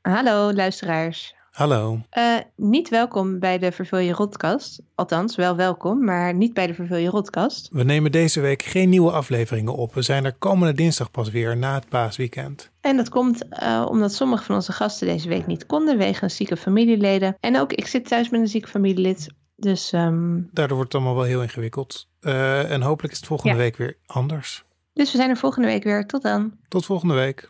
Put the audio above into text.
Hallo luisteraars. Hallo. Eh, niet welkom bij de Vervul je Rotkast. Althans, wel welkom, maar niet bij de Vervul je Rotkast. We nemen deze week geen nieuwe afleveringen op. We zijn er komende dinsdag pas weer na het paasweekend. En dat komt eh, omdat sommige van onze gasten deze week niet konden wegens zieke familieleden. En ook ik zit thuis met een ziek familielid. Dus ehm, Daardoor wordt het allemaal wel heel ingewikkeld. Eh, en hopelijk is het volgende Ja. week weer anders. Dus we zijn er volgende week weer. Tot dan. Tot volgende week.